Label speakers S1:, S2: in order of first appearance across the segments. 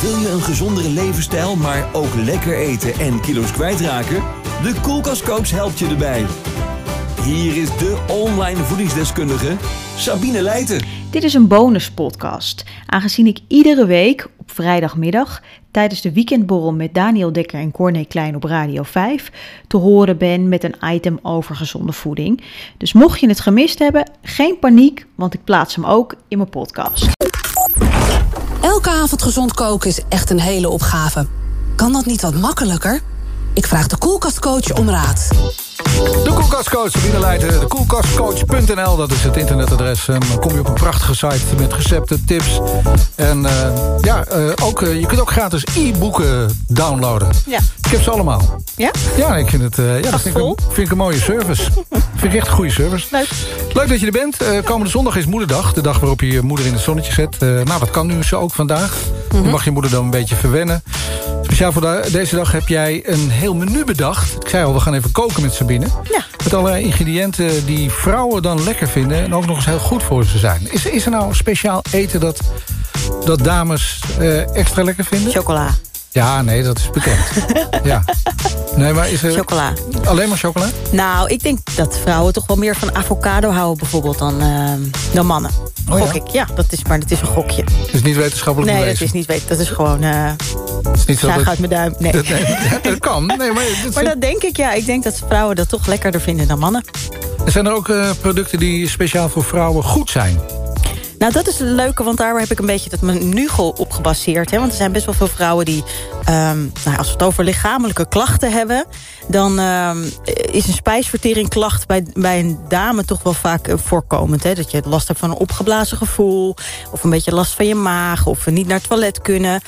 S1: Wil je een gezondere levensstijl, maar ook lekker eten en kilo's kwijtraken? De Koelkastcoach helpt je erbij. Hier is de online voedingsdeskundige Sabine Leijten.
S2: Dit is een bonuspodcast, aangezien ik iedere week op vrijdagmiddag tijdens de weekendborrel met Daniel Dekker en Corné Klein op Radio 5 te horen ben met een item over gezonde voeding. Dus mocht je het gemist hebben, geen paniek, want ik plaats hem ook in mijn podcast.
S3: Elke avond gezond koken is echt een hele opgave. Kan dat niet wat makkelijker? Ik vraag de koelkastcoach om raad.
S4: De Koelkastcoach, Sabine Leijten, de koelkastcoach.nl, dat is het internetadres. En dan kom je op een prachtige site met recepten, tips. En eh, ja, eh, ook, eh, je kunt ook gratis e-boeken downloaden.
S5: Ja.
S4: Ik heb ze allemaal.
S5: Ja?
S4: Ja, ik vind het eh, ja, dat
S5: Ach,
S4: vind ik, een,
S5: vol.
S4: vind ik een mooie service. vind ik echt een goede service.
S5: Leuk.
S4: Leuk dat je er bent. Eh, komende zondag is moederdag. De dag waarop je je moeder in het zonnetje zet. Eh, nou, dat kan nu zo ook vandaag.
S5: Mhm.
S4: Je mag je moeder dan een beetje verwennen. Speciaal voor da- deze dag heb jij een heel menu bedacht. Ik zei al, we gaan even koken met Sabine.
S5: Ja.
S4: Met allerlei ingrediënten die vrouwen dan lekker vinden. En ook nog eens heel goed voor ze zijn. Is, is er nou speciaal eten dat, dat dames eh, extra lekker vinden?
S5: Chocola.
S4: Ja, nee, dat is bekend. ja. Nee, maar is er
S5: Chocola.
S4: alleen maar chocola?
S5: Nou, ik denk dat vrouwen toch wel meer van avocado houden bijvoorbeeld dan, ehm, dan mannen.
S4: Oh ja?
S5: Gok ik. Ja, dat is, maar dat is een gokje.
S4: Het is niet wetenschappelijk
S5: Nee, dat
S4: bewezen.
S5: is niet weten. Dat is gewoon eh
S4: Het is niet zo dat-
S5: zaag uit mijn duim. Nee.
S4: Dat, nee, ja, dat kan. Nee, maar dat
S5: Maar
S4: zijn,
S5: dat denk ik, ja. Ik denk dat vrouwen dat toch lekkerder vinden dan mannen.
S4: zijn er ook eh, producten die speciaal voor vrouwen goed zijn?
S5: Nou, dat is het leuke, want daar heb ik een beetje dat menugel op gebaseerd. Hè? Want er zijn best wel veel vrouwen die, ehm, nou, als we het over lichamelijke klachten hebben... dan ehm, is een spijsverteringklacht bij, bij een dame toch wel vaak eh, voorkomend. Hè? Dat je last hebt van een opgeblazen gevoel... of een beetje last van je maag, of niet naar het toilet kunnen.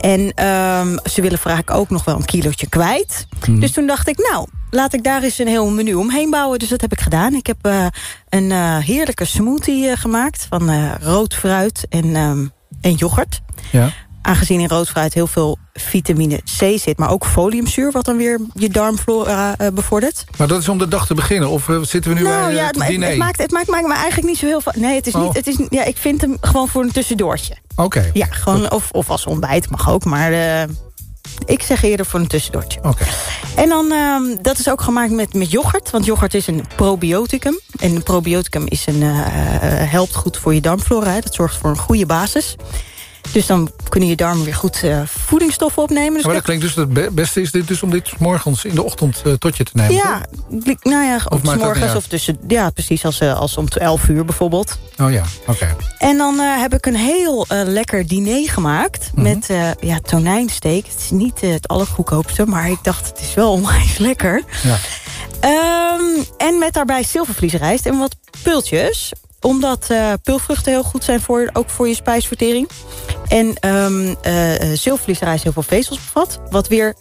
S5: En ehm, ze willen vaak ook nog wel een kilootje kwijt.
S4: Mhm.
S5: Dus toen dacht ik, nou, laat ik daar eens een heel menu omheen bouwen. Dus dat heb ik gedaan. Ik heb eh, een eh, heerlijke smoothie eh, gemaakt van eh, rood fruit en, ehm, en yoghurt.
S4: Ja.
S5: Aangezien in rood fruit heel veel vitamine C zit, maar ook foliumzuur, wat dan weer je darmflora eh, bevordert.
S4: Maar dat is om de dag te beginnen. Of eh, zitten we nu bij eh,
S5: Nou ja,
S4: het
S5: het, ma- het,
S4: diner?
S5: het maakt, het maakt, maakt me eigenlijk niet zo heel veel. Nee, het is
S4: Oh.
S5: niet. Het is, ja, ik vind hem gewoon voor een tussendoortje.
S4: Oké. Oké.
S5: Ja, gewoon, of, of als ontbijt mag ook, maar eh, ik zeg eerder voor een tussendoortje. En dan, ehm, dat is ook gemaakt met, met yoghurt. Want yoghurt is een probioticum. En een probioticum is een, eh, eh, helpt goed voor je darmflora. hè. Dat zorgt voor een goede basis. Dus dan kunnen je darmen weer goed eh, voedingsstoffen opnemen. Dus
S4: Maar dat klinkt dus het be- beste is dit dus om dit 's morgens in de ochtend eh, tot je te nemen.
S5: ja, li- nou ja,
S4: maakt
S5: of
S4: dat niet
S5: morgens
S4: uit?
S5: of tussen... Ja, precies, als, eh, als om 11 uur bijvoorbeeld.
S4: toch? Oh ja, oké.
S5: En dan eh, heb ik een heel eh, lekker diner gemaakt met eh, ja, tonijnsteek. Het is niet eh, het allergoedkoopste, maar ik dacht het is wel onwijs lekker.
S4: Ja.
S5: Ehm, en met daarbij zilvervliesrijst en wat pultjes omdat eh, pulvruchten heel goed zijn, voor, ook voor je spijsvertering. En ehm eh, eh, zilvervliesrijst heel veel vezels bevat. Wat weer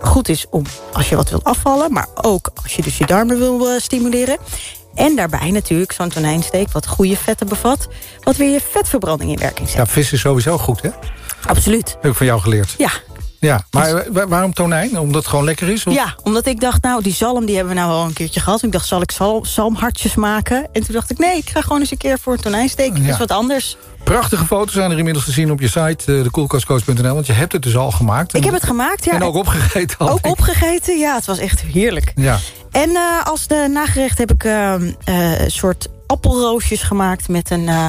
S5: goed is om als je wat wilt afvallen. Maar ook als je dus je darmen wil eh, stimuleren. En daarbij natuurlijk zo'n tonijnsteek wat goede vetten bevat. Wat weer je vetverbranding in werking zet.
S4: ja, vis is sowieso goed, hè?
S5: Absoluut.
S4: Heb ik van jou geleerd.
S5: Ja.
S4: Ja, maar eh, wa- waarom tonijn? Omdat het gewoon lekker is? Of-
S5: ja, omdat ik dacht, nou, die zalm die hebben we nou al een keertje gehad. Ik dacht, zal ik zal, zalmhartjes maken? En toen dacht ik, nee, ik ga gewoon eens een keer voor een tonijnsteek.
S4: Ja.
S5: Dat is wat anders.
S4: Prachtige foto's zijn er inmiddels te zien op je site, eh, dekoelkastcoach.nl. Want je hebt het dus al gemaakt.
S5: Ik heb het gemaakt, ja.
S4: En ook opgegeten. had
S5: Ook
S4: Oh, ik.
S5: opgegeten, ja, het was echt heerlijk.
S4: Ja.
S5: En eh, als de nagerecht heb ik ehm, eh, een soort appelroosjes gemaakt... met een eh,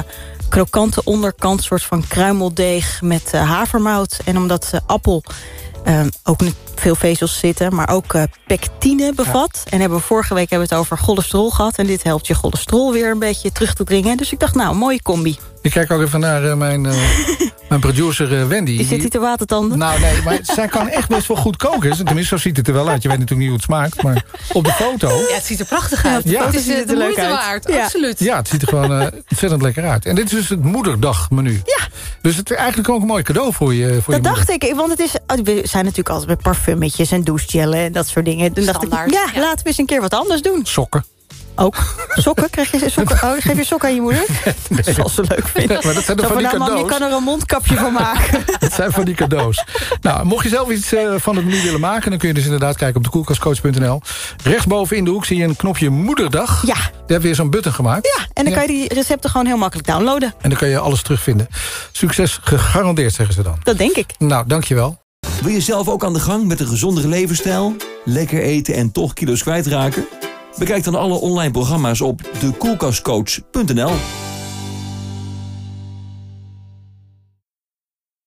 S5: krokante onderkant, soort van kruimeldeeg met eh, havermout. En omdat eh, appel ehm, ook niet veel vezels zitten, maar ook eh, pectine bevat. En hebben we vorige week hebben we het over cholesterol gehad. En dit helpt je cholesterol weer een beetje terug te dringen. Dus ik dacht, nou, mooie combi.
S4: Ik kijk ook even naar eh, mijn, eh, mijn producer eh, Wendy.
S5: Die zit hier te watertanden.
S4: Nou nee, maar zij kan echt best wel goed koken. dus Tenminste, zo ziet het er wel uit. Je weet natuurlijk niet hoe het smaakt, maar op de foto...
S6: Ja, het ziet er prachtig uit.
S4: Ja.
S6: Het is
S5: ziet
S6: eh,
S5: er
S6: de
S5: leuk
S6: moeite
S5: uit.
S6: waard,
S5: Ja.
S6: absoluut.
S4: Ja, het ziet er gewoon eh, ontzettend lekker uit. En dit is dus het moederdagmenu. Ja. Dus het is eigenlijk ook een mooi cadeau voor je voor je
S5: Dat
S4: moeder.
S5: dacht ik, want het is, oh, we zijn natuurlijk altijd met parfummetjes en douchegellen en dat soort dingen. Toen dacht ik,
S6: Standaard,
S5: ja,
S6: ja.
S5: laten we eens een keer wat anders doen.
S4: Sokken.
S5: Ook. Sokken? Krijg je sokken? Oh, geef je sokken aan je moeder? Dat zal ze leuk vinden.
S4: Maar dat zijn
S5: Zo
S4: toch van
S5: van,
S4: die
S5: nou mam, je
S4: cadeaus?
S5: kan er een mondkapje van maken.
S4: Dat zijn van die cadeaus. Nou, mocht je zelf iets eh, van het menu willen maken... dan kun je dus inderdaad kijken op de koelkastcoach.nl. Rechtsboven in de hoek zie je een knopje Moederdag.
S5: Ja.
S4: Daar hebben we weer zo'n button gemaakt.
S5: Ja, en dan kan je die recepten gewoon heel makkelijk downloaden.
S4: En dan kun je alles terugvinden. Succes gegarandeerd, zeggen ze dan.
S5: Dat denk ik.
S4: Nou, dankjewel.
S1: Wil je zelf ook aan de gang met een gezondere levensstijl? Lekker eten en toch kilo's kwijtraken? Bekijk dan alle online programma's op dekoelkastcoach.nl.